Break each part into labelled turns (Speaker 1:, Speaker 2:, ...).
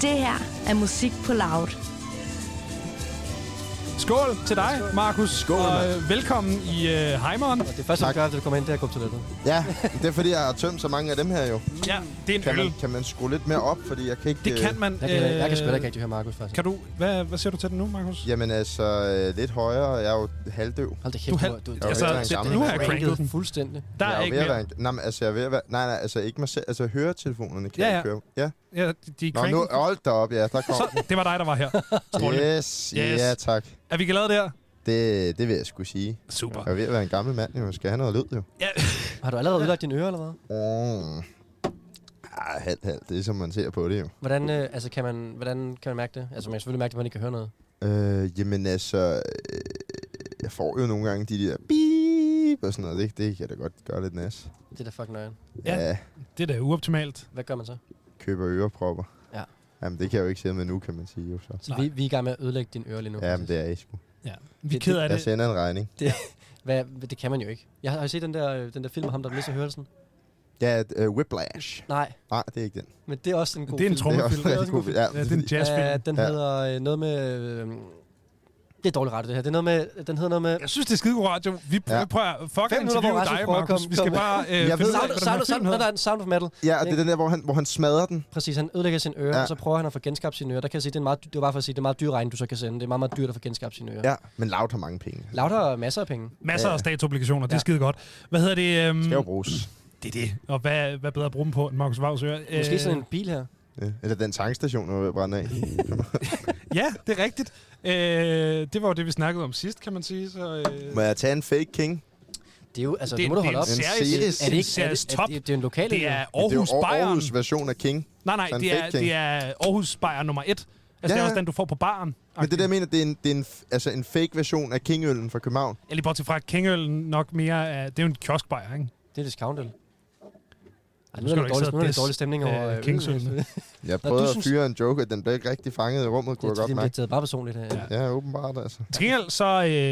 Speaker 1: Det her er musik på loud.
Speaker 2: Skål til dig, Markus.
Speaker 3: Skål,
Speaker 2: Og
Speaker 3: mand.
Speaker 2: øh, velkommen i øh, Heimeren.
Speaker 3: Det er første, jeg gør, efter du kommer ind, det er at gå på toilettet.
Speaker 4: Ja, det er fordi, jeg har tømt så mange af dem her jo.
Speaker 2: Ja, det er
Speaker 4: Kan
Speaker 2: en øl.
Speaker 4: man, kan man skrue lidt mere op, fordi jeg kan ikke...
Speaker 2: Det
Speaker 4: øh,
Speaker 2: kan man.
Speaker 3: Jeg kan, jeg kan sgu
Speaker 2: øh,
Speaker 3: heller ikke rigtig høre Markus, faktisk.
Speaker 2: Kan du... Hvad, hvad siger du til den nu, Markus?
Speaker 4: Jamen altså, øh, lidt højere. Jeg er jo halvdøv.
Speaker 3: Hold da kæft,
Speaker 2: Du
Speaker 3: du,
Speaker 2: hal-
Speaker 3: er- du, du,
Speaker 4: Jeg
Speaker 2: Altså,
Speaker 4: er jo ikke
Speaker 2: det,
Speaker 4: engang
Speaker 2: nu
Speaker 4: gammel.
Speaker 2: har jeg cranket den.
Speaker 3: fuldstændig.
Speaker 2: Der
Speaker 4: jeg
Speaker 2: er
Speaker 4: jo
Speaker 2: ikke
Speaker 4: ved at
Speaker 2: mere.
Speaker 4: være en, nej, men altså, jeg er ved at være, nej, nej, altså ikke mig selv. Altså, høretelefonerne kan
Speaker 2: Ja, ja.
Speaker 4: ja, ja. jeg køre. Ja.
Speaker 2: Ja, de er
Speaker 4: Nå, nu,
Speaker 2: cranket.
Speaker 4: hold da op, ja, der kom
Speaker 2: Så, det var dig, der var her.
Speaker 4: den.
Speaker 2: Strålende.
Speaker 4: Yes,
Speaker 2: Yes.
Speaker 4: yes, ja, tak.
Speaker 2: Er vi glade der?
Speaker 4: Det, det vil jeg skulle sige.
Speaker 2: Super.
Speaker 4: Jeg er ved at være en gammel mand, jo. Jeg skal have noget lyd, jo.
Speaker 2: Ja,
Speaker 3: Har du allerede udlagt dine ører, eller hvad?
Speaker 4: Mm. Ah, halvt, halvt. Det er, som man ser på det, jo.
Speaker 3: Hvordan, øh, altså, kan man, hvordan kan man mærke det? Altså, man kan selvfølgelig mærke det, at man ikke kan høre noget.
Speaker 4: Øh, jamen altså, øh, jeg får jo nogle gange de der beep og sådan noget. Det, det kan da godt gøre lidt nas.
Speaker 3: Det er da fucking nøjeren.
Speaker 2: Ja.
Speaker 4: Ja. ja.
Speaker 2: det er da uoptimalt.
Speaker 3: Hvad gør man så?
Speaker 4: køber ørepropper.
Speaker 3: Ja.
Speaker 4: Jamen, det kan jeg jo ikke sidde med nu, kan man sige jo så.
Speaker 3: Så vi, vi er i gang med at ødelægge dine ører lige nu.
Speaker 4: Jamen, det er I sgu.
Speaker 2: Ja. Vi er
Speaker 3: Det-
Speaker 2: ked af
Speaker 4: Jeg
Speaker 2: det.
Speaker 4: sender en regning.
Speaker 3: Hvad, det kan man jo ikke. Jeg har, har I set den der, øh, den der film om ham, der mister hørelsen?
Speaker 4: Ja, et, uh, Whiplash.
Speaker 3: Nej,
Speaker 4: Nej, det er ikke den.
Speaker 3: men det er også en god
Speaker 2: Det er en
Speaker 3: film.
Speaker 4: Det er
Speaker 2: trommefilm.
Speaker 4: også en rigtig god film. Ja,
Speaker 2: Ja, det er en
Speaker 3: Øh,
Speaker 2: jazzfilm.
Speaker 3: den
Speaker 4: Ja.
Speaker 3: hedder øh, noget med... Øh, det er dårligt ret, det her. Det er noget med, den hedder noget med...
Speaker 2: Jeg synes, det er skide god radio. Vi
Speaker 4: Ja.
Speaker 2: prøver, prøver at fuck
Speaker 3: Fem minutter,
Speaker 2: interviewe
Speaker 3: hvor Rasmus
Speaker 2: dig,
Speaker 3: prøver at
Speaker 2: Markus.
Speaker 3: komme-
Speaker 2: Vi skal
Speaker 3: komme-
Speaker 2: bare øh, finde
Speaker 4: Jeg
Speaker 2: ud af,
Speaker 4: ved
Speaker 2: hvordan
Speaker 3: Sound,
Speaker 2: den
Speaker 3: sound,
Speaker 2: her
Speaker 3: sound,
Speaker 2: film
Speaker 3: når der
Speaker 2: hedder.
Speaker 3: er en sound of metal.
Speaker 4: ja og det er den der, hvor han, hvor han smadrer den.
Speaker 3: Præcis, han ødelægger sine ører, ja.
Speaker 4: Ja.
Speaker 3: og så prøver han at få genskabt sine ører. Der kan jeg sige, det er en meget, dy- det var bare for at sige, det er en meget dyr regning, du så kan sende. Det er meget, meget dyrt at få genskabt sine ører. Ja.
Speaker 4: Ja, men Loud har mange penge.
Speaker 3: Lauter har masser af penge.
Speaker 2: Masser af statsobligationer. Det er
Speaker 3: Ja.
Speaker 2: skide godt. Hvad hedder det? øhm,
Speaker 4: Skal jo bruges.
Speaker 2: Det er det. Og hvad, hvad bedre at bruge dem på end Markus Vavs øre?
Speaker 3: Måske
Speaker 2: Øh,
Speaker 3: sådan en bil her.
Speaker 4: Ja. Eller den tankstation, der er ved at brænde af.
Speaker 2: Ja, det er rigtigt. Øh, det var jo det, vi snakkede om sidst, kan man sige. Så, øh,
Speaker 4: Må jeg tage en fake king?
Speaker 3: Det er jo, altså,
Speaker 2: det,
Speaker 3: det, nu må du holde op.
Speaker 2: Det er en
Speaker 4: op.
Speaker 2: serie-
Speaker 4: En series.
Speaker 2: det
Speaker 3: Er det ikke er
Speaker 2: series
Speaker 3: det, er
Speaker 2: top.
Speaker 3: det, det er en lokal
Speaker 2: Det er
Speaker 4: Men
Speaker 2: Aarhus
Speaker 4: det er jo Aar-
Speaker 2: Bayern.
Speaker 4: Aarhus version af king.
Speaker 2: Nej, nej,
Speaker 4: Så en
Speaker 2: det er,
Speaker 4: fake king.
Speaker 2: det er Aarhus Bayern nummer et. Altså, ja.
Speaker 4: Ja,
Speaker 2: det er
Speaker 4: ja.
Speaker 2: også den, du får på baren.
Speaker 4: Men det der jeg mener, det er en, det er en, f- altså en fake version af kingøllen fra København.
Speaker 2: Jeg lige bortset fra Kingøllen nok mere af... Det er jo en kioskbajer, ikke?
Speaker 3: Det er discount, eller? Ej,
Speaker 2: skal
Speaker 3: nu er
Speaker 2: du
Speaker 3: der
Speaker 2: ikke
Speaker 3: dårlig,
Speaker 2: sidde
Speaker 3: nu
Speaker 2: og
Speaker 3: er der dårlig stemning
Speaker 2: disse,
Speaker 3: over...
Speaker 2: øh,
Speaker 3: øh,
Speaker 2: Kingsølene.
Speaker 3: Det
Speaker 4: Jeg
Speaker 3: Nå,
Speaker 4: prøvede
Speaker 3: du
Speaker 4: at
Speaker 3: synes-
Speaker 4: fyre en joke, at den blev ikke rigtig fanget i rummet, kunne
Speaker 3: er
Speaker 4: jeg
Speaker 3: fordi, det
Speaker 4: godt
Speaker 3: bliver
Speaker 4: mærke.
Speaker 3: taget bare personligt. øh.
Speaker 2: Ja.
Speaker 4: Ja, åbenbart altså.
Speaker 2: Til gengæld så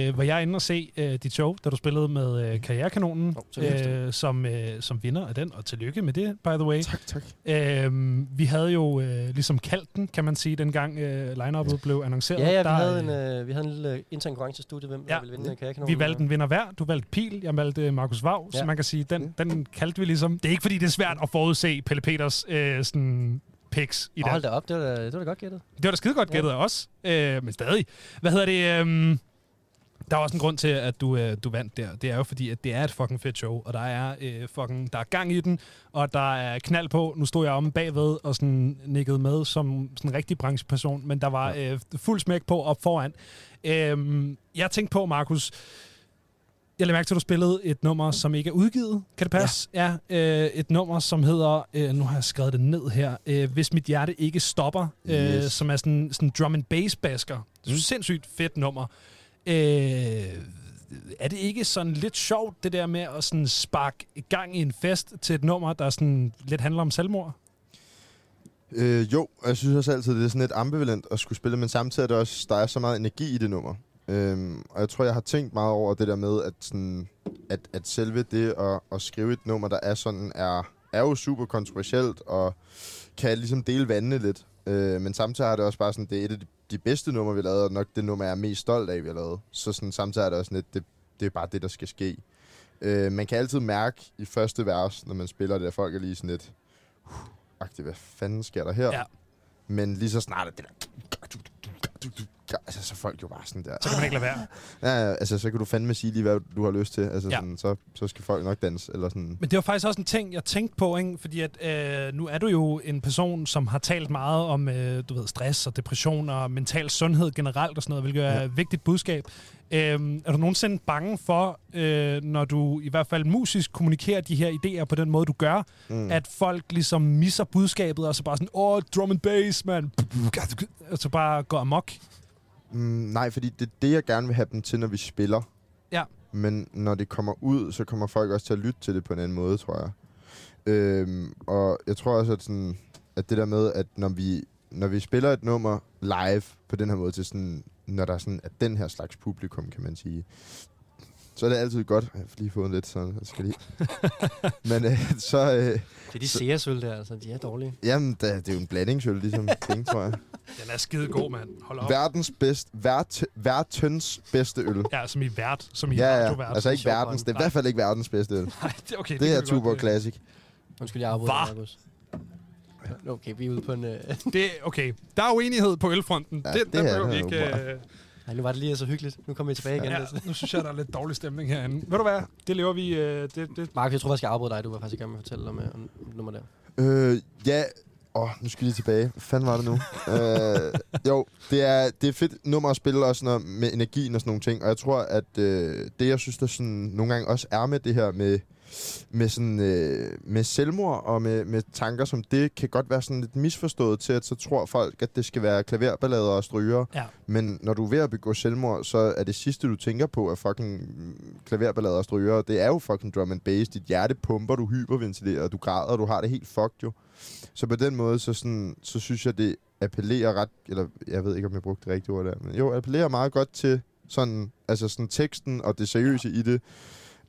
Speaker 2: øh, var jeg inde og se øh, dit show, da du spillede med øh, Karrierekanonen,
Speaker 3: Hov, tillykke til
Speaker 2: øh, som, øh, som vinder af den, og tillykke med det, by the way.
Speaker 4: Tak, tak.
Speaker 2: Øhm, vi havde jo øh, ligesom kaldt den, kan man sige, dengang øh, line-up'et blev annonceret.
Speaker 3: Ja, ja, vi
Speaker 2: Der,
Speaker 3: havde,
Speaker 2: øh,
Speaker 3: en, øh, vi havde en lille intern konkurrence i studiet, hvem
Speaker 2: Ja.
Speaker 3: ja. der ville vinde øh, kajakanonen.
Speaker 2: Vi valgte en vinder hver. Du valgte Pil, jeg valgte øh, Markus Vav, ja. så
Speaker 3: Ja.
Speaker 2: man kan sige, den, den kaldte vi ligesom. Det er ikke, fordi det er svært at forudse Pelle Peters øh, sådan, picks i
Speaker 3: i
Speaker 2: den.
Speaker 3: Hold da op, det var da, det var da godt gættet.
Speaker 2: Det var da skide godt gættet af os, øh, men stadig. Hvad hedder det? Øh, der er også en grund til, at du, øh, du vandt der. Det er jo fordi, at det er et fucking fedt show, og der er, øh, fucking, der er gang i den, og der er knald på. Nu stod jeg omme bagved og sådan nikkede med som sådan en rigtig brancheperson, men der var øh, fuld smæk på op foran. Øh, jeg tænkte på, Markus, jeg lagde mærke til, at du spillede et nummer, som ikke er udgivet. Kan det passe? Ja. ja øh, et nummer, som hedder, øh, nu har jeg skrevet det ned her, øh, Hvis mit hjerte ikke stopper, øh,
Speaker 4: Yes.
Speaker 2: som er sådan en drum and bass basker. Det er et sindssygt fedt nummer. Øh, er det ikke sådan lidt sjovt, det der med at sådan sparke gang i en fest til et nummer, der sådan lidt handler om selvmord?
Speaker 4: Øh, jo, og jeg synes også altid, det er sådan lidt ambivalent at skulle spille, men samtidig er det også, der er så meget energi i det nummer. Øhm, og jeg tror, jeg har tænkt meget over det der med, at, sådan, at, at selve det at, at skrive et nummer, der er sådan, er, er jo super kontroversielt, og kan ligesom dele vandene lidt. Øh, men samtidig har det også bare sådan, det er et af de, de bedste numre, vi har lavet, og nok det nummer, jeg er mest stolt af, vi har lavet. Så sådan, samtidig er det også sådan lidt, det, det er bare det, der skal ske. Øh, man kan altid mærke i første vers, når man spiller det, at folk er lige sådan lidt, agtig, hvad fanden sker der her?
Speaker 2: Ja.
Speaker 4: Men lige så snart er det der... Altså, så er folk jo bare sådan der.
Speaker 2: Så kan man ikke lade være.
Speaker 4: Ja, ja, altså, så kan du fandme sige lige, hvad du har lyst til. Altså,
Speaker 2: Ja.
Speaker 4: ja. sådan, så, så skal folk nok danse, eller sådan.
Speaker 2: Men det var faktisk også en ting, jeg tænkte på, ikke? fordi at, øh, nu er du jo en person, som har talt meget om øh, du ved, stress og depression og mental sundhed generelt og sådan noget, hvilket er et vigtigt budskab. Øh, er du nogensinde bange for, øh, når du i hvert fald musisk kommunikerer de her idéer på den måde, du gør, mm. at folk ligesom misser budskabet og så bare sådan, åh, drum and bass, man, og så bare går amok?
Speaker 4: Mm, nej, fordi det er det, jeg gerne vil have dem til, når vi spiller.
Speaker 2: Ja.
Speaker 4: Men når det kommer ud, så kommer folk også til at lytte til det på en anden måde, tror jeg. Øhm, og jeg tror også, at, sådan, at det der med, at når vi, når vi spiller et nummer live på den her måde, til sådan, når der er sådan, at den her slags publikum, kan man sige, så er det altid godt. Jeg har lige fået en lidt sådan, jeg skal lige. Men øh, så, øh,
Speaker 3: Det er de seersøl der, altså. De er dårlige.
Speaker 4: jamen, da, det er jo en blandingsøl, ligesom penge, tror jeg.
Speaker 2: Den er skide god, mand. Hold op.
Speaker 4: Verdens bedst, vært, værtens bedste øl.
Speaker 2: Ja, som i vært. Som i
Speaker 4: Ja,
Speaker 2: radiovært.
Speaker 4: ja, altså ikke
Speaker 3: sjov
Speaker 4: verdens, det er i
Speaker 2: dreng.
Speaker 4: hvert fald ikke verdens bedste øl.
Speaker 2: Nej, det, okay,
Speaker 4: Det
Speaker 2: kan
Speaker 4: er
Speaker 2: vi
Speaker 4: Tuborg
Speaker 2: godt, øh,
Speaker 4: Classic.
Speaker 3: Undskyld, jeg afbryder,
Speaker 2: Hva?
Speaker 3: Markus. Okay, vi er ude på en... Øh...
Speaker 2: Det, okay, der er uenighed på ølfronten.
Speaker 4: Ja,
Speaker 2: Ja, det,
Speaker 4: det
Speaker 2: det
Speaker 4: er
Speaker 2: den behøver
Speaker 4: der
Speaker 2: vi
Speaker 4: jo
Speaker 2: ikke...
Speaker 4: bare.
Speaker 2: Øh,
Speaker 3: Ej, nu var det lige så hyggeligt. Nu kommer vi tilbage igen.
Speaker 2: ja,
Speaker 3: Ja.
Speaker 2: nu synes jeg, der er lidt dårlig stemning herinde. Ved du hvad? Det lever vi... Øh, det, det,
Speaker 3: Markus, jeg tror faktisk, jeg afbryder dig. Du var faktisk i gang med at fortælle om, øh, om om nummer der.
Speaker 4: Øh, ja. Åh, oh, nu skal vi lige tilbage. Hvad fanden var det nu? øh, jo, det er, det er fedt nummer at spille også noget med energien og sådan nogle ting. Og jeg tror, at øh, det, jeg synes, der sådan nogle gange også er med det her med, med, sådan, øh, med selvmord og med, med tanker som det, kan godt være sådan lidt misforstået til, at så tror folk, at det skal være klaverballader og stryger.
Speaker 2: Ja.
Speaker 4: Men når du er ved at begå selvmord, så er det sidste, du tænker på, er fucking mm, klaverballader og stryger. Det er jo fucking drum and bass. Dit hjerte pumper, du hyperventilerer, du græder, og du har det helt fucked jo. Så på den måde, så, sådan, så synes jeg, det appellerer ret... Eller jeg ved ikke, om jeg brugte det rigtige ord der. Men jo, appellerer meget godt til sådan, altså sådan teksten og det seriøse ja. i det.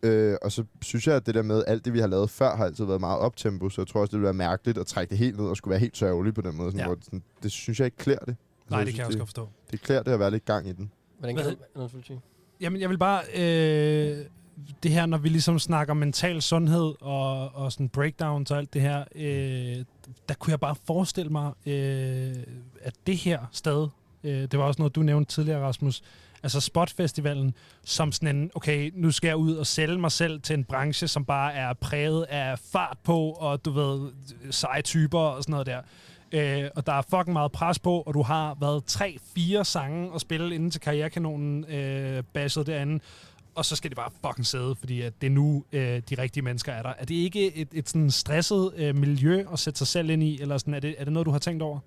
Speaker 4: Øh, og så synes jeg, at det der med, alt det, vi har lavet før, har altid været meget optempo, så jeg tror også, det ville være mærkeligt at trække det helt ned og skulle være helt sørgelig på den måde. Sådan,
Speaker 2: Ja.
Speaker 4: ja. hvor, det sådan, det synes jeg ikke klæder det.
Speaker 2: nej, det
Speaker 4: synes,
Speaker 2: kan jeg også godt forstå.
Speaker 4: det klæder det at være lidt gang i den.
Speaker 3: Hvordan
Speaker 2: Hvad
Speaker 3: kan du... Nå, undskyld, sig.
Speaker 2: Jamen, jeg vil bare... Øh, det her, når vi ligesom snakker mental sundhed og, og sådan breakdowns og alt det her, øh, der kunne jeg bare forestille mig, øh, at det her sted, øh, det var også noget, du nævnte tidligere, Rasmus, altså Spotfestivalen, som sådan en, okay, nu skal jeg ud og sælge mig selv til en branche, som bare er præget af fart på, og du ved, seje typer og sådan noget der. Øh, og der er fucking meget pres på, og du har været tre-fire sange at spille inden til karrierekanonen øh, basset derinde, og så skal det bare fucking sidde, fordi at det er nu, øh, de rigtige mennesker er der. Er det ikke et, et sådan stresset øh, miljø at sætte sig selv ind i, eller sådan, er, det, er det noget, du har tænkt over?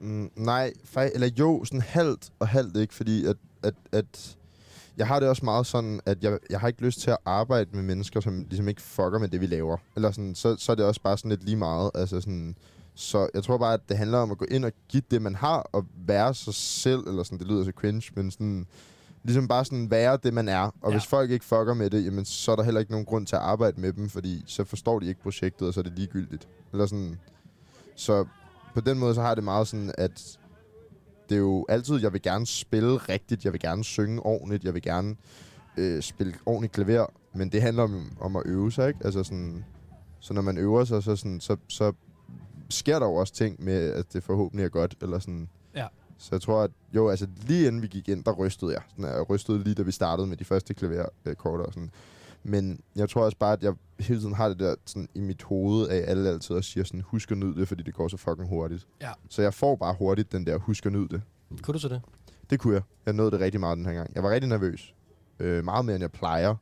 Speaker 4: Mm, nej, fej, eller jo, sådan halvt og halvt ikke, fordi at, at, at jeg har det også meget sådan, at jeg, jeg har ikke lyst til at arbejde med mennesker, som ligesom ikke fucker med det, vi laver. Eller sådan, så, så er det også bare sådan lidt lige meget. Altså sådan, så jeg tror bare, at det handler om at gå ind og give det, man har, og være sig selv, eller sådan, det lyder så cringe, men sådan, ligesom bare sådan være det, man er. Og
Speaker 2: Ja.
Speaker 4: ja. hvis folk ikke fucker med det, jamen, så er der heller ikke nogen grund til at arbejde med dem, fordi så forstår de ikke projektet, og så er det ligegyldigt. Eller sådan, så på den måde, så har jeg det meget sådan, at det er jo altid, jeg vil gerne spille rigtigt, jeg vil gerne synge ordentligt, jeg vil gerne øh, spille ordentligt klaver, men det handler om, om at øve sig, ikke? Altså sådan, så når man øver sig, så, sådan, så, så sker der jo også ting med, at det forhåbentlig er godt, eller sådan.
Speaker 2: Ja.
Speaker 4: Så jeg tror, at jo, altså lige inden vi gik ind, der rystede jeg. Sådan, jeg rystede lige, da vi startede med de første klaverkorter og sådan. Men jeg tror også bare, at jeg hele tiden har det der sådan, i mit hoved af alle altid og siger sådan, husk at nyde det, fordi det går så fucking hurtigt.
Speaker 2: Ja.
Speaker 4: Så jeg får bare hurtigt den der, husk at nyde det.
Speaker 3: Kunne du så det?
Speaker 4: Det kunne jeg. Jeg nåede det rigtig meget den her gang. Jeg var rigtig nervøs. Øh, meget mere, end jeg plejer.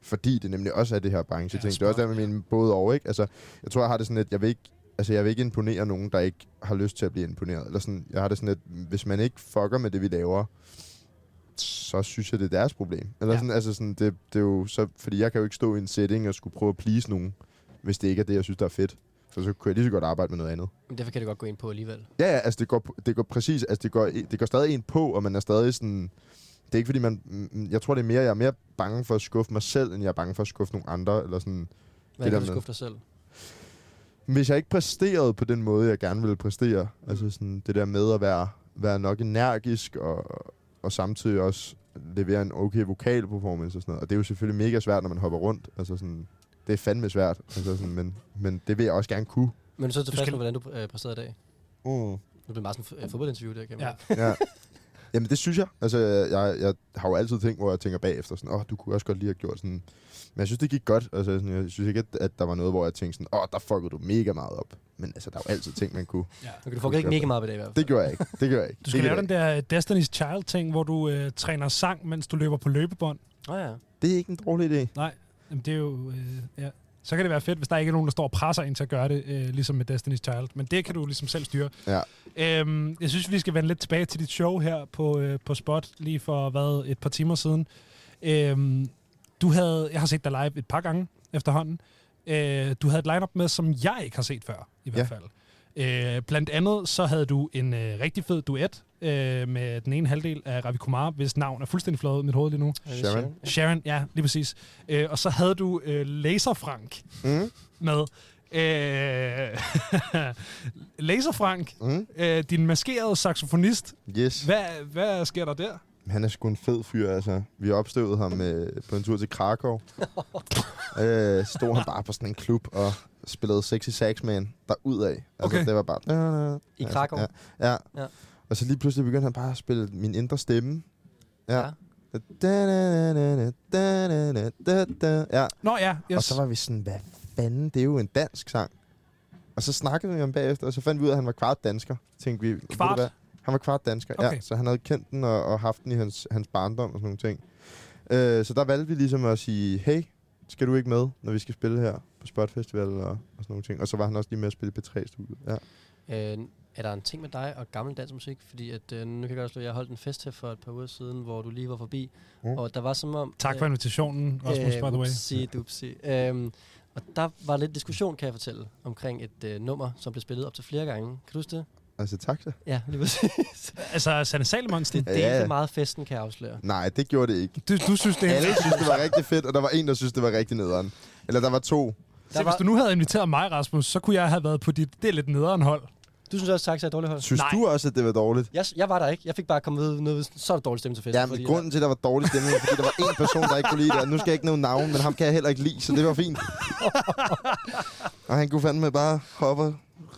Speaker 4: Fordi det nemlig også er det her branche.
Speaker 2: Ja,
Speaker 4: Ja, det er også der
Speaker 2: smart,
Speaker 4: med
Speaker 2: ja.
Speaker 4: min både over, ikke? Altså, jeg tror, jeg har det sådan lidt, jeg vil ikke Altså, jeg vil ikke imponere nogen, der ikke har lyst til at blive imponeret. Eller sådan, jeg har det sådan lidt, hvis man ikke fucker med det, vi laver, så synes jeg, det er deres problem.
Speaker 2: Ja.
Speaker 4: Eller ja. sådan, altså sådan, det, det er jo så, fordi jeg kan jo ikke stå i en setting og skulle prøve at please nogen, hvis det ikke er det, jeg synes, der er fedt. For så kunne jeg lige så godt arbejde med noget andet.
Speaker 3: Men derfor kan det godt gå ind på alligevel.
Speaker 4: Ja, ja, altså det går, det går præcis, altså det går, det går stadig en på, og man er stadig sådan, det er ikke fordi man, mm, jeg tror det er mere, jeg er mere bange for at skuffe mig selv, end jeg er bange for at skuffe nogle andre, eller sådan.
Speaker 3: Hvad
Speaker 4: der
Speaker 3: kan du
Speaker 4: med-
Speaker 3: skuffe dig selv?
Speaker 4: Hvis jeg ikke præsterede på den måde, jeg gerne ville præstere, mm. altså sådan det der med at være, være nok energisk, og, og samtidig også levere en okay vokal performance og sådan noget. Og det er jo selvfølgelig mega svært, når man hopper rundt, altså sådan, det er fandme svært, altså sådan, men, men det vil jeg også gerne kunne.
Speaker 3: Men er du så tilfreds
Speaker 2: skal-
Speaker 3: med, hvordan du øh, præsterede i dag?
Speaker 4: Mm.
Speaker 3: Nu bliver meget sådan et fodboldinterview der, kan man.
Speaker 2: Ja.
Speaker 4: ja. Jamen, det synes jeg. Altså, jeg, jeg har jo altid ting, hvor jeg tænker bagefter, sådan, åh, oh, du kunne også godt lige have gjort sådan. Men jeg synes, det gik godt. Altså, sådan, jeg synes ikke, at, at der var noget, hvor jeg tænkte sådan, åh, oh, der fuckede du mega meget op. Men altså, der er jo altid ting, man kunne.
Speaker 2: Ja.
Speaker 3: Okay, du fucker ikke mega meget op i dag i hvert fald.
Speaker 4: Det gjorde jeg ikke. Det gjorde jeg ikke.
Speaker 2: Du skal
Speaker 4: det,
Speaker 2: lave
Speaker 4: gjorde
Speaker 2: den der Destiny's Child-ting, hvor du øh, træner sang, mens du løber på løbebånd.
Speaker 3: Åh oh, ja.
Speaker 4: jeg ikke. det er ikke en dårlig idé.
Speaker 2: Jamen, det er jo... Øh, ja. Så kan det være fedt, hvis der ikke er nogen, der står og presser ind til at gøre det, øh, ligesom med Destiny's Child. Men det kan du ligesom selv styre.
Speaker 4: Ja.
Speaker 2: Øhm, jeg synes, vi skal vende lidt tilbage til dit show her på, øh, på Spot, lige for hvad, et par timer siden. Øhm, du havde, jeg har set dig live et par gange efterhånden. Øh, du havde et lineup med, som jeg ikke har set før, i hvert
Speaker 4: Ja.
Speaker 2: fald. Øh, blandt andet så havde du en øh, rigtig fed duet øh, med den ene halvdel af Ravi Kumar, hvis navn er fuldstændig flået i mit hoved lige nu.
Speaker 3: Øh,
Speaker 4: Sharon.
Speaker 2: Sharon, ja, lige præcis. Øh, og så havde du øh, Laser Frank
Speaker 4: Mm,
Speaker 2: med. Øh, Laser Frank,
Speaker 4: mm,
Speaker 2: øh, din maskerede saxofonist.
Speaker 4: yes.
Speaker 2: Hvad, hvad sker der der?
Speaker 4: Han er sgu en fed fyr, altså. Vi opstøvede ham øh, på en tur til Krakow. øh, stod han bare på sådan en klub og spillede Sexy Saxman derudad. Altså,
Speaker 2: Okay.
Speaker 4: det var bare...
Speaker 3: I Krakow?
Speaker 4: Altså, ja, ja.
Speaker 3: Ja.
Speaker 4: ja. Og så lige pludselig begyndte han bare at spille min indre stemme. Ja.
Speaker 3: Ja.
Speaker 4: ja. Ja,
Speaker 2: Nå ja, yes.
Speaker 4: og så var vi sådan, hvad fanden, det er jo en dansk sang. Og så snakkede vi om bagefter, og så fandt vi ud af, at han var kvart dansker. Tænkte vi, ved du
Speaker 2: Kvart?
Speaker 4: hvad? Han var kvart dansker, okay.
Speaker 2: Okay.
Speaker 4: ja. Så han havde kendt den og, og haft den i hans, hans barndom og sådan nogle ting. Øh, så der valgte vi ligesom at sige, hey, skal du ikke med, når vi skal spille her på Spot Festival og, og sådan nogle ting. Og så var han også lige med at spille i P3-studiet. Ja.
Speaker 3: Øh, er der en ting med dig og gammel dansk musik? Fordi at, øh, nu kan jeg godt slå, at jeg holdt en fest her for et par uger siden, hvor du lige var forbi.
Speaker 4: Mm.
Speaker 3: Og der var som om...
Speaker 2: Tak for invitationen, Rasmus, by
Speaker 4: Øh,
Speaker 2: the way.
Speaker 3: Upsi, dupsi. Øhm, og der var lidt diskussion, kan jeg fortælle, omkring et øh, nummer, som blev spillet op til flere gange. Kan du huske det?
Speaker 4: Altså, tak så.
Speaker 3: Ja, lige præcis.
Speaker 2: Altså, Sanne Salomonsen,
Speaker 3: Det
Speaker 4: Ja.
Speaker 3: delte ja. meget festen, kan jeg afsløre.
Speaker 4: Nej, det gjorde det ikke.
Speaker 2: du, du synes det er...
Speaker 4: Alle synes, det var rigtig fedt, og der var en, der synes, det var rigtig nederen. Eller der var to.
Speaker 2: Se, hvis du nu havde inviteret mig, Rasmus, så kunne jeg have været på dit... Det er lidt nederen hold.
Speaker 3: du synes også, Taxa er et dårligt hold?
Speaker 4: Synes
Speaker 2: Nej.
Speaker 4: Nej. du også, at det var dårligt?
Speaker 3: Jeg, jeg var der ikke. Jeg fik bare kommet ved noget, så er der dårlig stemme til festen.
Speaker 4: Ja, men grunden til, at der var dårlig stemning, var, fordi der var én person, der ikke kunne lide det. Og nu skal jeg ikke nævne navn, men ham kan jeg heller ikke lide, så det var fint. og han kunne fandme bare hoppe og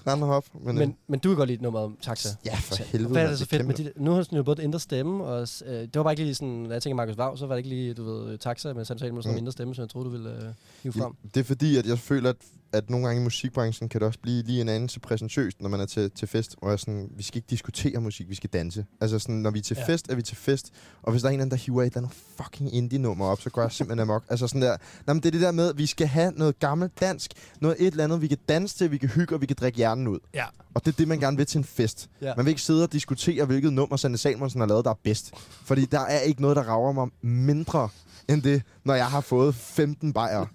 Speaker 4: rende og hoppe. Men, øh,
Speaker 3: men, men du kan godt lide nummeret om Taxa.
Speaker 4: ja, for helvede.
Speaker 3: Hvad er
Speaker 4: mand,
Speaker 3: det så fedt med
Speaker 4: kæmpe-
Speaker 3: de, Nu har sådan jo både den indre stemme, og s- øh, det var bare ikke lige sådan, når jeg tænker Markus Vav, så var det ikke lige, du ved, taxa, men sandt med sådan en
Speaker 4: Mm.
Speaker 3: indre stemme, som jeg troede, du ville øh, hive
Speaker 4: Ja,
Speaker 3: frem.
Speaker 4: Det er fordi, at jeg føler, at, at nogle gange i musikbranchen kan det også blive lige en anden så præsentøst, når man er til, til fest, og er sådan, vi skal ikke diskutere musik, vi skal danse. Altså sådan, når vi er til
Speaker 2: Ja.
Speaker 4: ja. fest, er vi til fest, og hvis der er en eller anden, der hiver et eller andet fucking indie-nummer op, så går jeg simpelthen amok. Altså sådan der, nej, men det er det der med, vi skal have noget gammelt dansk, noget et eller andet, vi kan danse til, vi kan hygge, og vi kan drikke hjernen ud.
Speaker 2: Ja.
Speaker 4: Og det er det, man gerne vil til en fest.
Speaker 3: Ja.
Speaker 4: Ja. Man vil ikke sidde og diskutere, hvilket nummer Sanne Salmonsen har lavet, der er bedst. Fordi der er ikke noget, der rager mig mindre end det, når jeg har fået 15 bajer.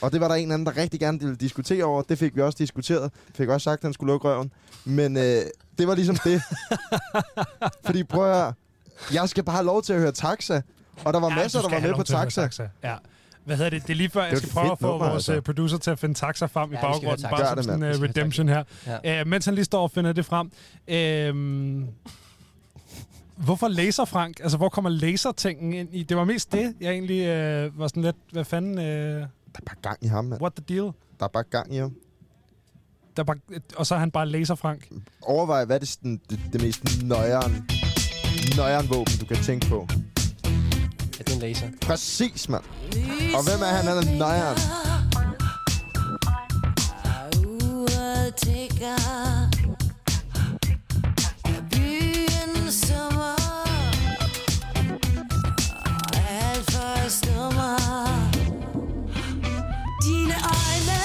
Speaker 4: Og det var der en anden, der rigtig gerne ville diskutere over. Det fik vi også diskuteret. Fik også sagt, at han skulle lukke røven. Men øh, det var ligesom det. Fordi prøv at høre, jeg skal bare have lov til at høre taxa. Og der var ja, masser,
Speaker 2: du
Speaker 4: der
Speaker 2: skal
Speaker 4: var
Speaker 2: have
Speaker 4: med
Speaker 2: lov
Speaker 4: på
Speaker 2: til at høre
Speaker 4: taxa.
Speaker 2: Ja. Hvad hedder det? Det er lige før, jeg
Speaker 4: et
Speaker 2: skal prøve at
Speaker 4: fedt
Speaker 2: få
Speaker 4: nummer,
Speaker 2: vores
Speaker 4: altså.
Speaker 2: altså. producer til at finde taxa frem ja, i
Speaker 3: Ja, vi skal høre
Speaker 2: baggrunden.
Speaker 3: Taxa.
Speaker 2: Bare
Speaker 4: Gør
Speaker 2: som
Speaker 4: det,
Speaker 2: sådan
Speaker 4: mand.
Speaker 2: en uh,
Speaker 3: Vi skal høre
Speaker 2: redemption her.
Speaker 3: Ja.
Speaker 2: Ja. Uh, mens han lige står og finder det frem. Uh, hvorfor laser, Frank? Altså, hvor kommer lasertingen ind i? Det var mest det, jeg egentlig uh, var sådan lidt... Hvad fanden... Uh,
Speaker 4: Der er bare gang i ham, mand.
Speaker 2: what the deal?
Speaker 4: Der er bare gang i ham.
Speaker 2: Der er bare, og så er han bare laser, Frank.
Speaker 4: Overvej, hvad er det, sådan, det, det mest nøjeren, nøjeren våben, du kan tænke på.
Speaker 3: Ja, det er en laser.
Speaker 4: Præcis, mand. Og hvem er han? Han er nøjeren.
Speaker 5: Dine øjne,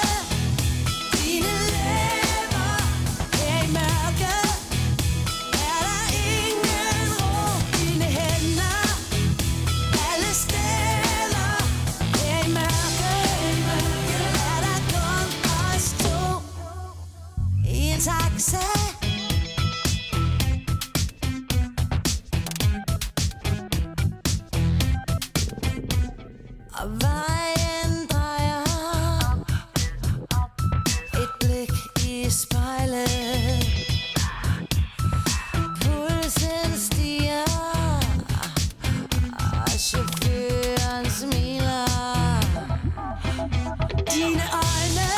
Speaker 5: dine læber, her i mørket, er der ingen ro. Dine hænder, alle steder, her i mørket, er der kun os to. I en taxa. Og vejen drejer Et blik i spejlet Pulsen stiger Og chaufføren smiler Dine øjne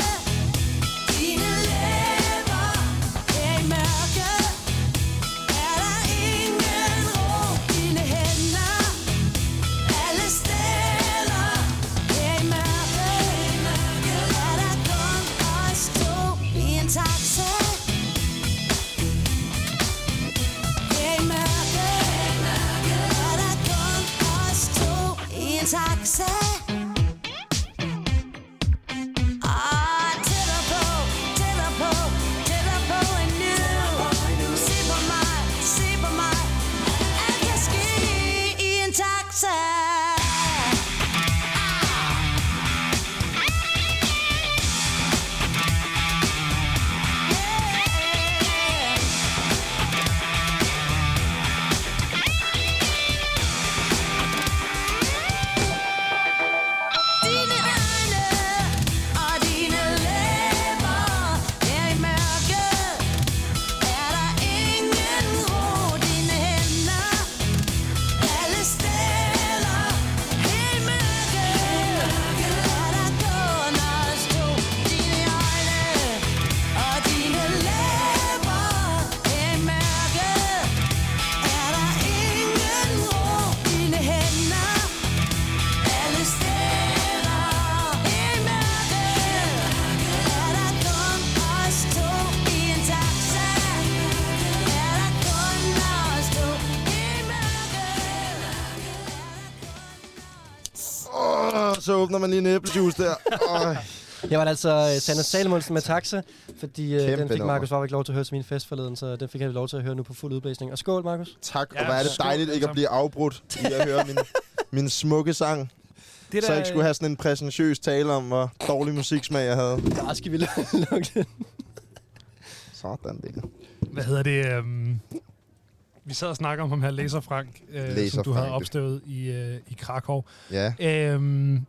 Speaker 5: Dine læber Her i mørket Er der ingen ro Dine hænder alle steder Her i mørket Er der kun os to I en taxa Her i mørket Er der kun os to I en taxa Ah, tættere på, tættere på, tættere på end nu. Se på mig, se på mig. Alt kan ske i en Taxa.
Speaker 4: så åbner man lige en æblejuice der. Øj.
Speaker 3: Jeg var altså øh, Sander Salomonsen med taxa, fordi øh,
Speaker 4: Kæmpe
Speaker 3: den fik
Speaker 4: nummer.
Speaker 3: Markus Warwick lov til at høre til min fest forleden, så den fik han lov til at høre nu på fuld udblæsning. Og skål, Markus.
Speaker 4: Tak,
Speaker 2: Ja,
Speaker 4: og hvor er det
Speaker 2: skål,
Speaker 4: dejligt ikke
Speaker 2: altså.
Speaker 4: at blive afbrudt i at høre min, min smukke sang.
Speaker 2: Det
Speaker 4: Så jeg ikke skulle have sådan en præsentiøs tale om, hvor dårlig musiksmag jeg havde.
Speaker 3: Der skal vi lukke den.
Speaker 4: Sådan det.
Speaker 2: Hvad hedder det? Øhm, vi sad og snakkede om ham her, Laser Frank, øh, som
Speaker 4: Laser
Speaker 2: du havde
Speaker 4: Frank, det-
Speaker 2: opstøvet i, øh, i Krakow.
Speaker 4: Ja.
Speaker 2: Øhm,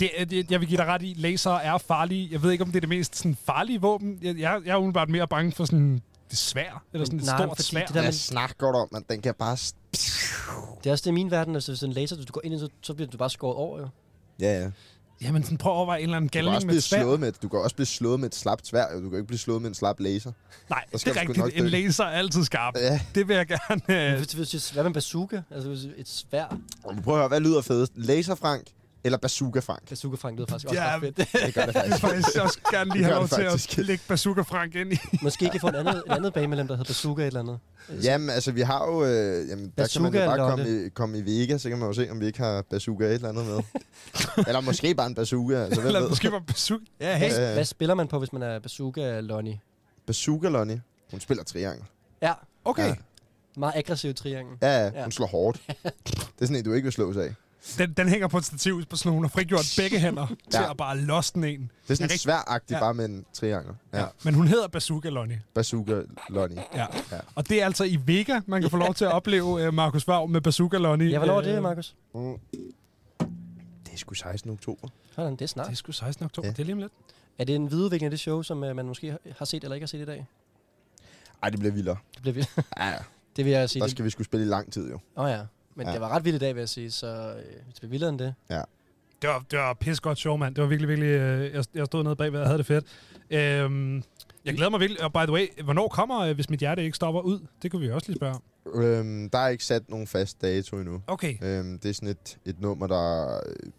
Speaker 2: det, er- det, jeg vil give dig ret i, laser er farlige. Jeg ved ikke, om det er det mest sådan, farlige våben. Jeg, jeg, jeg er umiddelbart mere bange for sådan det svær, eller sådan et
Speaker 3: Nej,
Speaker 2: stort
Speaker 3: fordi
Speaker 2: svær.
Speaker 3: det
Speaker 2: Det
Speaker 3: der-
Speaker 2: der...
Speaker 4: Jeg snakker godt om, at den kan bare... st-
Speaker 3: Det er også det i min verden, altså hvis en laser, du går ind i, så, så bliver du bare skåret over, jo.
Speaker 4: Ja, ja.
Speaker 2: Jamen, sådan, prøv at overveje en eller anden
Speaker 4: Du kan,
Speaker 2: galning
Speaker 4: også
Speaker 2: med
Speaker 4: blive
Speaker 2: et svær.
Speaker 4: slået med, et- du kan også blive slået med et slapt svær. jo. Du kan ikke blive slået med en slap laser.
Speaker 2: Nej,
Speaker 4: Der
Speaker 2: det
Speaker 4: skal
Speaker 2: er
Speaker 4: du sgu
Speaker 2: rigtigt.
Speaker 4: nok
Speaker 2: En
Speaker 4: dø.
Speaker 2: laser er altid skarp.
Speaker 4: Ja.
Speaker 2: Det vil jeg gerne... Øh,
Speaker 3: Hvis, hvis, hvis, hvad med en bazooka? Altså hvis et svær
Speaker 4: Og prøv at høre, hvad lyder fedest? Laser Frank eller Bazooka Frank?
Speaker 3: bazooka frank lyder faktisk også
Speaker 2: Ja.
Speaker 3: ret fedt.
Speaker 4: Det gør det
Speaker 2: jeg vil
Speaker 4: faktisk.
Speaker 2: faktisk også gerne lige
Speaker 4: Det
Speaker 2: have
Speaker 4: gør
Speaker 2: lov
Speaker 4: det
Speaker 2: til at
Speaker 4: faktisk.
Speaker 2: lægge Bazooka Frank ind i.
Speaker 3: Måske ikke få en andet, en andet banemedlem, der hedder bazooka et eller andet.
Speaker 4: Jamen, altså, vi har jo... Øh, jamen, der kan man
Speaker 3: Bazooka
Speaker 4: jo
Speaker 3: eller
Speaker 4: bare
Speaker 3: Lotte?
Speaker 4: komme i, komme i Vega, så kan man jo se, om vi ikke har bazooka et eller andet med. eller måske bare en bazooka, altså hvem
Speaker 2: Eller
Speaker 4: ved?
Speaker 2: måske var Bazooka... Ja,
Speaker 3: Hvad,
Speaker 2: hey.
Speaker 4: Ja, ja.
Speaker 3: hvad spiller man på, hvis man er bazooka Lonnie?
Speaker 4: Bazooka Lonnie, hun spiller triangel.
Speaker 3: Ja,
Speaker 2: Okay.
Speaker 4: Ja.
Speaker 3: meget aggressiv triangel.
Speaker 4: Ja, ja,
Speaker 3: Ja.
Speaker 4: hun slår hårdt. Det er sådan en, du ikke vil slås af.
Speaker 2: Den, den hænger på et stativ på sådan nogle, og frigjort begge hænder ja. til
Speaker 4: Ja.
Speaker 2: at bare losse den en.
Speaker 4: Det er sådan
Speaker 2: Ja,
Speaker 4: en sværagtig,
Speaker 2: Ja.
Speaker 4: bare med en triangel. Ja.
Speaker 2: Men hun hedder Bazooka Lonnie.
Speaker 4: Bazooka Lonnie.
Speaker 2: Ja.
Speaker 4: Ja.
Speaker 2: Og det er altså i Vega, man kan få lov til at opleve uh, Markus Vav med Bazooka Lonnie.
Speaker 3: Ja, hvornår er det,
Speaker 2: Øh,
Speaker 3: Markus?
Speaker 4: Mm. Det er sgu 16. oktober.
Speaker 3: Sådan, det er
Speaker 2: Det er
Speaker 3: snart.
Speaker 2: sgu 16. oktober. Ja.
Speaker 4: Ja.
Speaker 2: Det er lige om lidt.
Speaker 3: Er det en videreudvikling af det show, som øh, man måske har- har set eller ikke har set i dag?
Speaker 4: Ej, det bliver vildere.
Speaker 3: Det bliver vildt.
Speaker 4: Ja,
Speaker 3: Det vil jeg sige.
Speaker 4: der
Speaker 3: det-
Speaker 4: skal vi skulle spille i lang tid, jo.
Speaker 3: Åh oh, ja, men
Speaker 4: Ja.
Speaker 3: det var ret vildt i dag, vil jeg sige, så øh, det blev vildere end det.
Speaker 2: Det var, det var pis godt show, mand. Det var virkelig, virkelig... Øh, jeg, jeg stod nede bagved, og havde det fedt. Øhm, jeg glæder mig virkelig. Og by the way, hvornår kommer, øh, hvis mit hjerte ikke stopper ud? Det kunne vi også lige spørge om.
Speaker 4: Øhm, der er ikke sat nogen fast dato endnu.
Speaker 2: Okay.
Speaker 4: Øhm, det er sådan et, et nummer, der, øh,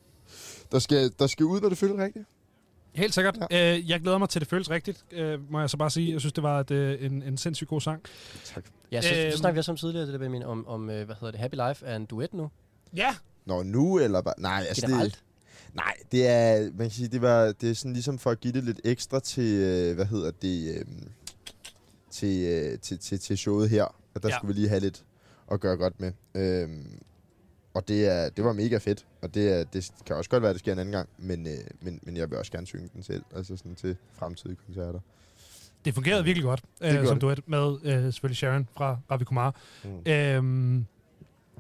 Speaker 4: der, skal, der skal ud, når det føles rigtigt.
Speaker 2: Helt sikkert. Ja. Øh, jeg glæder mig til, at det føles rigtigt, øh, må jeg så bare sige. Jeg synes, det var et, øh, en, en sindssygt god sang.
Speaker 4: Tak.
Speaker 3: Ja, så, øhm.
Speaker 2: Øhm.
Speaker 3: så snakker vi også om tidligere, det der Benjamin, om, om øh, hvad hedder det, Happy Life er en duet nu.
Speaker 2: Ja,
Speaker 4: Nå, nu eller bare... Nej, altså, det,
Speaker 3: Generelt.
Speaker 4: nej, det er... Man kan sige, det, var, det er sådan ligesom for at give det lidt ekstra til... Øh, hvad hedder det? Øh, til, øh, til, til, til showet her. Og der
Speaker 2: Ja.
Speaker 4: ja. skulle vi lige have lidt at gøre godt med. Øhm, og det, er, det var mega fedt. Og det, er, det kan også godt være, at det sker en anden gang. Men, øh, men, men jeg vil også gerne synge den selv. Altså sådan til fremtidige koncerter.
Speaker 2: Det fungerede virkelig godt,
Speaker 4: Det
Speaker 2: øh,
Speaker 4: gjorde
Speaker 2: som
Speaker 4: det.
Speaker 2: duet med øh, selvfølgelig Sharon fra Ravi Kumar.
Speaker 4: Mm.
Speaker 2: Øhm,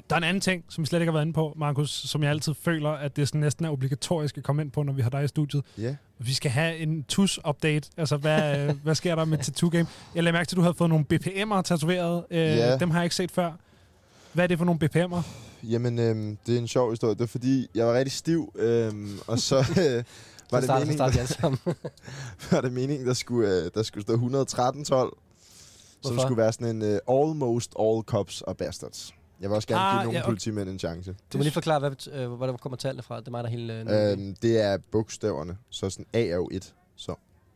Speaker 2: der er en anden ting, som vi slet ikke har været inde på, Markus, som jeg altid føler, at det sådan næsten er obligatorisk at komme ind på, når vi har dig i studiet.
Speaker 4: Ja.
Speaker 2: Vi skal have en TUS-update. Altså, hvad, øh, hvad sker der med Tattoo Game? Jeg lagde mærke til, at du havde fået nogle BPM'er tatoveret. Øh,
Speaker 4: Ja.
Speaker 2: Dem har jeg ikke set før. Hvad er det for nogle BPM'er?
Speaker 4: Jamen, øhm, det er en sjov historie. Det er fordi, jeg var rigtig stiv, øhm, og så øh, var,
Speaker 3: Så
Speaker 4: det
Speaker 3: starter, så
Speaker 4: meningen,
Speaker 3: starter vi alle sammen.
Speaker 4: var det meningen, der skulle, øh, der skulle stå 113 12, som
Speaker 3: Hvorfor?
Speaker 4: skulle være sådan en øh, almost all cops og bastards. Jeg vil også gerne
Speaker 2: Ah,
Speaker 4: give nogle
Speaker 2: ja, okay.
Speaker 4: politimænd en chance.
Speaker 3: Du må lige forklare, hvad, bet- øh, hvor der kommer tallene fra. Det er mig, der er helt... Øh, nede i.
Speaker 4: Øhm, det er bogstaverne, så sådan A er jo 1, så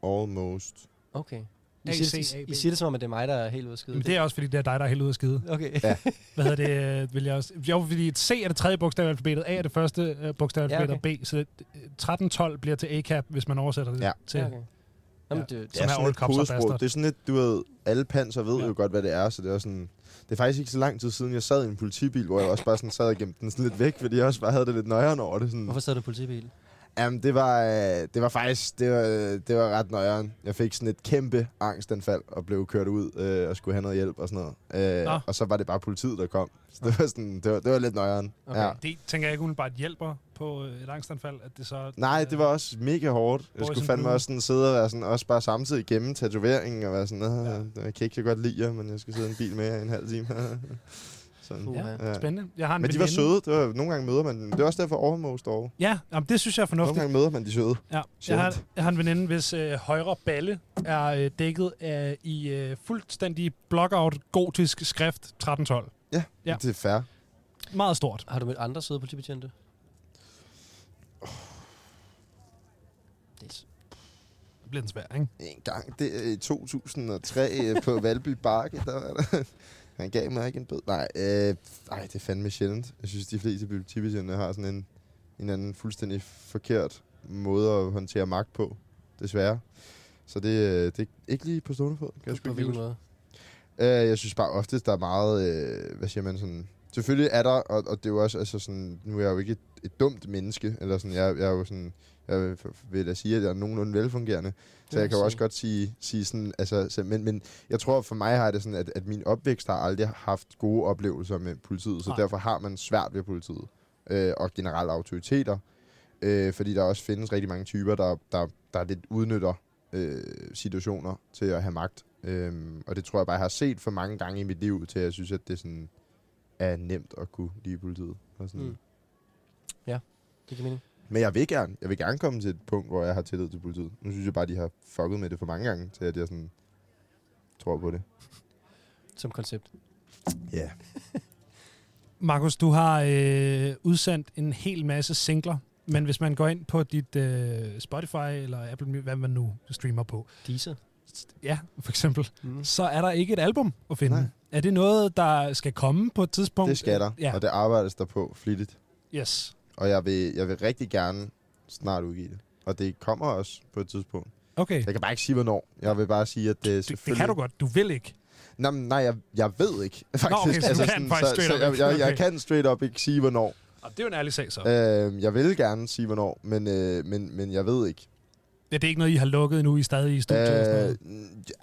Speaker 4: almost.
Speaker 3: okay. I,
Speaker 2: A,
Speaker 3: siger,
Speaker 2: C,
Speaker 3: det- I,
Speaker 2: A, B.
Speaker 3: I siger det som om, at det er mig, der er helt ude at skide.
Speaker 2: Jamen, det er også, fordi det er dig, der er helt ude at skide.
Speaker 3: Okay.
Speaker 2: Hvad hedder det? øh, Vil jeg også... Jo, fordi et C er det tredje bokstav i alfabetet, A er det første øh, bokstav i
Speaker 3: Ja,
Speaker 2: alfabetet, ja, okay. B. Så øh, 13-12 bliver til A-cap, hvis man oversætter det ja.
Speaker 4: Ja.
Speaker 2: til... Okay.
Speaker 3: okay. Jamen, det,
Speaker 2: Som er all
Speaker 4: et
Speaker 2: cops og bastards.
Speaker 4: Det er sådan lidt, du ved, alle panser ved
Speaker 2: Ja.
Speaker 4: ja. jo godt, hvad det er, så det er sådan... Det er faktisk ikke så lang tid siden, jeg sad i en politibil, hvor jeg også bare sådan sad og gemte den sådan lidt væk, fordi jeg også bare havde det lidt nøjeren over det. Sådan.
Speaker 3: Hvorfor sad du i en politibil?
Speaker 4: Jamen, det var, øh, det var faktisk det var, øh, det var ret nøjeren. Jeg fik sådan et kæmpe angstanfald og blev kørt ud øh, og skulle have noget hjælp og sådan noget.
Speaker 2: Nå.
Speaker 4: Øh, og så var det bare politiet, der kom. Så det var, sådan, det var, det var lidt nøjeren.
Speaker 3: Okay.
Speaker 4: Okay. Ja.
Speaker 2: Det tænker jeg ikke umiddelbart hjælper på øh, et angstanfald, at det så... øh,
Speaker 4: Nej, det var også mega hårdt. Jeg
Speaker 2: Boys
Speaker 4: skulle
Speaker 2: and
Speaker 4: fandme
Speaker 2: Blue.
Speaker 4: også sådan sidde og være sådan, også bare samtidig gemme tatoveringen og være sådan,
Speaker 2: Ja.
Speaker 4: "Ah, jeg kan ikke så godt lide jer, men jeg skal sidde i en bil med jer i en halv time. sådan.
Speaker 3: Puha.
Speaker 2: Ja, spændende. Jeg har en
Speaker 4: Men de var
Speaker 2: veninde-
Speaker 4: søde. Det var, nogle gange møder man dem. Det er også derfor overmost over.
Speaker 2: Ja, jamen, det synes jeg er
Speaker 4: Nogle
Speaker 2: fornuftigt.
Speaker 4: gange møder man de søde.
Speaker 2: Ja. Jeg,
Speaker 4: Sjældent.
Speaker 2: har, jeg har en veninde, hvis øh, højre balle er øh, dækket af, i øh, fuldstændig blockout gotisk skrift 1312. Ja.
Speaker 4: Det er fair.
Speaker 2: Meget stort.
Speaker 3: Har du mødt andre søde politibetjente? Det er s-
Speaker 2: Det bliver den svær, ikke?
Speaker 4: En gang det, øh, i 2003 øh, på Valby Bakke, der var der... Han gav mig ikke en bød. Nej, øh, ej, det er fandme sjældent. Jeg synes, de fleste politibetjente har sådan en en anden fuldstændig forkert måde at håndtere magt på, desværre. Så det, øh, det er ikke lige på stående fod. Kan jeg, sgu
Speaker 3: på
Speaker 4: ikke lige
Speaker 3: hvilken
Speaker 4: huske.
Speaker 3: måde?
Speaker 4: Øh, jeg synes bare ofte, der er meget, øh, hvad siger man sådan... Selvfølgelig er der, og, og det er jo også, altså sådan, nu er jeg jo ikke et, et dumt menneske, eller sådan, jeg, jeg er jo sådan, jeg vil, vil da sige, at jeg er nogenlunde velfungerende, så
Speaker 3: vil
Speaker 4: jeg kan jo
Speaker 3: jeg
Speaker 4: også
Speaker 3: sige.
Speaker 4: godt sige, sige sådan, altså, så, men, men jeg tror for mig har jeg det sådan, at, at min opvækst har aldrig haft gode oplevelser med politiet, så
Speaker 2: Nej.
Speaker 4: derfor har man svært ved politiet, øh, og generelt autoriteter, øh, fordi der også findes rigtig mange typer, der, der, der lidt udnytter øh, situationer til at have magt. Øhm, og det tror jeg bare, jeg har set for mange gange i mit liv, til at jeg synes, at det sådan er nemt at kunne lide politiet. Og sådan.
Speaker 3: Mm.
Speaker 4: Mm.
Speaker 3: Det giver mening.
Speaker 4: Men jeg vil gerne. Jeg vil gerne komme til et punkt, hvor jeg har tillid til politiet. Nu synes jeg bare, de har fucket med det for mange gange, til at jeg sådan tror på det.
Speaker 3: Som koncept.
Speaker 4: Ja. Yeah.
Speaker 2: Markus, du har øh, udsendt en hel masse singler, men hvis man går ind på dit øh, Spotify eller Apple Music, hvad man nu streamer på,
Speaker 3: Deezer.
Speaker 2: ja, for eksempel,
Speaker 3: Mm.
Speaker 2: så er der ikke et album at finde.
Speaker 4: Nej.
Speaker 2: Nej. Er det noget, der skal komme på et tidspunkt?
Speaker 4: Det skal der,
Speaker 2: Ja,
Speaker 4: og det arbejdes der på flittigt.
Speaker 2: yes.
Speaker 4: Og jeg vil, jeg vil rigtig gerne snart udgive det. Og det kommer også på et tidspunkt.
Speaker 2: Okay,
Speaker 4: Jeg kan bare ikke sige, hvornår. Jeg vil bare sige, at øh, det
Speaker 2: det, det kan du godt. Du vil ikke.
Speaker 4: Nå, men nej, jeg, jeg ved ikke, faktisk. Altså,
Speaker 2: okay, så du kan faktisk
Speaker 4: så,
Speaker 2: straight
Speaker 4: så
Speaker 2: up
Speaker 4: jeg,
Speaker 2: ikke.
Speaker 4: jeg, jeg
Speaker 2: Okay.
Speaker 4: kan straight up ikke sige, hvornår.
Speaker 2: Og det er jo en ærlig sag, så.
Speaker 4: Øh, jeg vil gerne sige, hvornår, men, øh, men, men jeg ved ikke.
Speaker 2: Ja, det er ikke noget, I har lukket endnu, I er stadig i studiet? Øh, og sådan noget.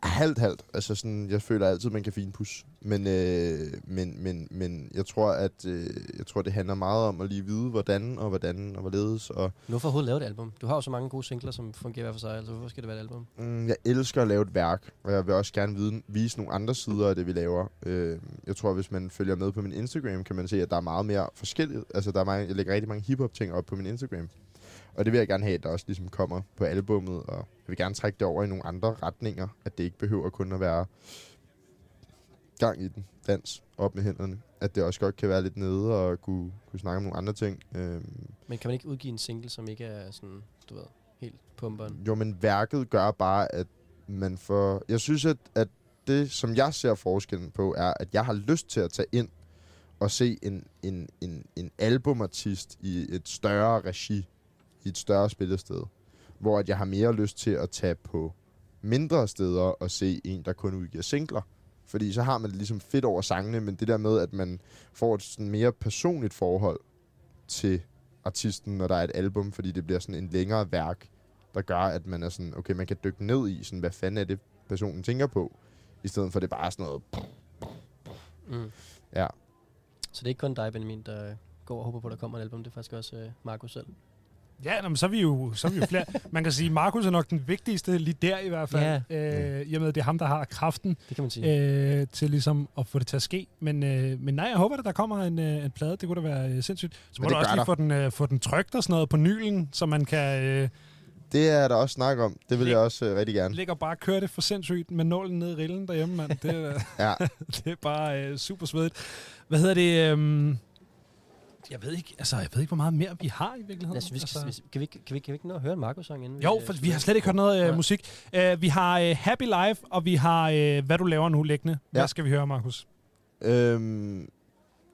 Speaker 4: halvt, halvt. Altså sådan, jeg føler altid, man kan finpudse. Men, øh, men, men, men jeg tror, at øh, jeg tror, det handler meget om at lige vide, hvordan og hvordan og hvorledes. Og,
Speaker 3: Nu for overhovedet lave et album. Du har jo så mange gode singler, som fungerer hver for sig. Altså, hvorfor skal det være et album?
Speaker 4: Mm, jeg elsker at lave et værk, og jeg vil også gerne vide, vise nogle andre sider af det, vi laver. Øh, jeg tror, hvis man følger med på min Instagram, kan man se, at der er meget mere forskelligt. Altså, der er mange, jeg lægger rigtig mange hiphop-ting op på min Instagram. Og det vil jeg gerne have, at der også ligesom kommer på albummet, og jeg vil gerne trække det over i nogle andre retninger, at det ikke behøver kun at være gang i den, dans, op med hænderne. At det også godt kan være lidt nede og kunne, kunne snakke om nogle andre ting. Øh,
Speaker 3: Men kan man ikke udgive en single, som ikke er sådan, du ved, helt pumperen?
Speaker 4: Jo, men værket gør bare, at man får... Jeg synes, at, at det, som jeg ser forskellen på, er, at jeg har lyst til at tage ind og se en, en, en, en albumartist i et større regi, i et større spillested, hvor at jeg har mere lyst til at tage på mindre steder og se en, der kun udgiver singler. Fordi så har man det ligesom fedt over sangene, men det der med, at man får et sådan mere personligt forhold til artisten, når der er et album, fordi det bliver sådan en længere værk, der gør, at man er sådan, okay, man kan dykke ned i, sådan, hvad fanden er det, personen tænker på, i stedet for det bare er sådan noget,
Speaker 3: Mm.
Speaker 4: Ja.
Speaker 3: Så det er ikke kun dig, Benjamin, der går og håber på, at der kommer et album. Det er faktisk også øh, Markus selv.
Speaker 2: Ja, nå, men så er vi jo, så er vi jo flere. Man kan sige, at Markus er nok den vigtigste, lige der i hvert fald. Yeah. Øh, I og med, at det er ham, der har kraften
Speaker 3: Det kan man sige.
Speaker 2: øh, til ligesom at få det til at ske. Men, øh, men nej, jeg håber, at der kommer en, øh, en plade. Det kunne da være øh, sindssygt. Så må du
Speaker 4: Men det
Speaker 2: også
Speaker 4: gør
Speaker 2: lige
Speaker 4: der.
Speaker 2: få den, øh, få den trygt og sådan noget på nylen, så man kan øh,
Speaker 4: det er der også snak om, det vil jeg også øh, rigtig gerne.
Speaker 2: ligge og bare køre det for sindssygt med nålen ned i rillen derhjemme, mand. Det, er-
Speaker 4: Ja.
Speaker 2: det er bare øh, super svedigt. Hvad hedder det? Øh, jeg ved ikke, altså, jeg ved ikke, hvor meget mere vi har i virkeligheden.
Speaker 3: Jeg synes, vi skal,
Speaker 2: altså.
Speaker 3: vi- kan, vi, ikke- kan, vi, kan vi ikke nå at høre en Markus-sang inden?
Speaker 2: Jo,
Speaker 3: øh,
Speaker 2: for vi
Speaker 3: slutter?
Speaker 2: har slet ikke hørt noget øh,
Speaker 3: Nej.
Speaker 2: musik. Øh, vi har øh, Happy Life, og vi har øh, Hvad du laver nu liggende. Hvad
Speaker 4: Ja.
Speaker 2: skal vi høre, Markus?
Speaker 4: Øhm,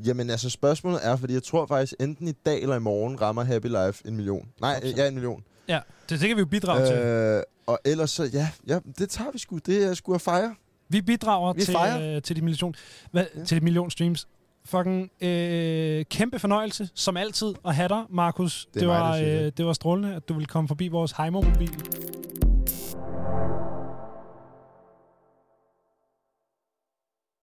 Speaker 4: jamen altså, spørgsmålet er, fordi jeg tror faktisk, enten i dag eller i morgen rammer Happy Life en million. Nej, øh, ja, en million.
Speaker 2: Ja, det, det kan vi jo bidrage øh, til.
Speaker 4: Øh, og ellers så, ja, ja, det tager vi sgu, det er sgu at fejre.
Speaker 2: Vi bidrager
Speaker 4: vi
Speaker 2: til,
Speaker 4: fejrer.
Speaker 2: øh, til, de million, hvad,
Speaker 4: Ja.
Speaker 2: ja. til de million streams. Fucking øh, kæmpe fornøjelse, som altid, at have dig, Markus.
Speaker 4: er
Speaker 2: Det, det,
Speaker 4: mig,
Speaker 2: var,
Speaker 4: der siger
Speaker 2: øh,
Speaker 4: det.
Speaker 2: det var strålende, at du ville komme forbi vores heimomobil.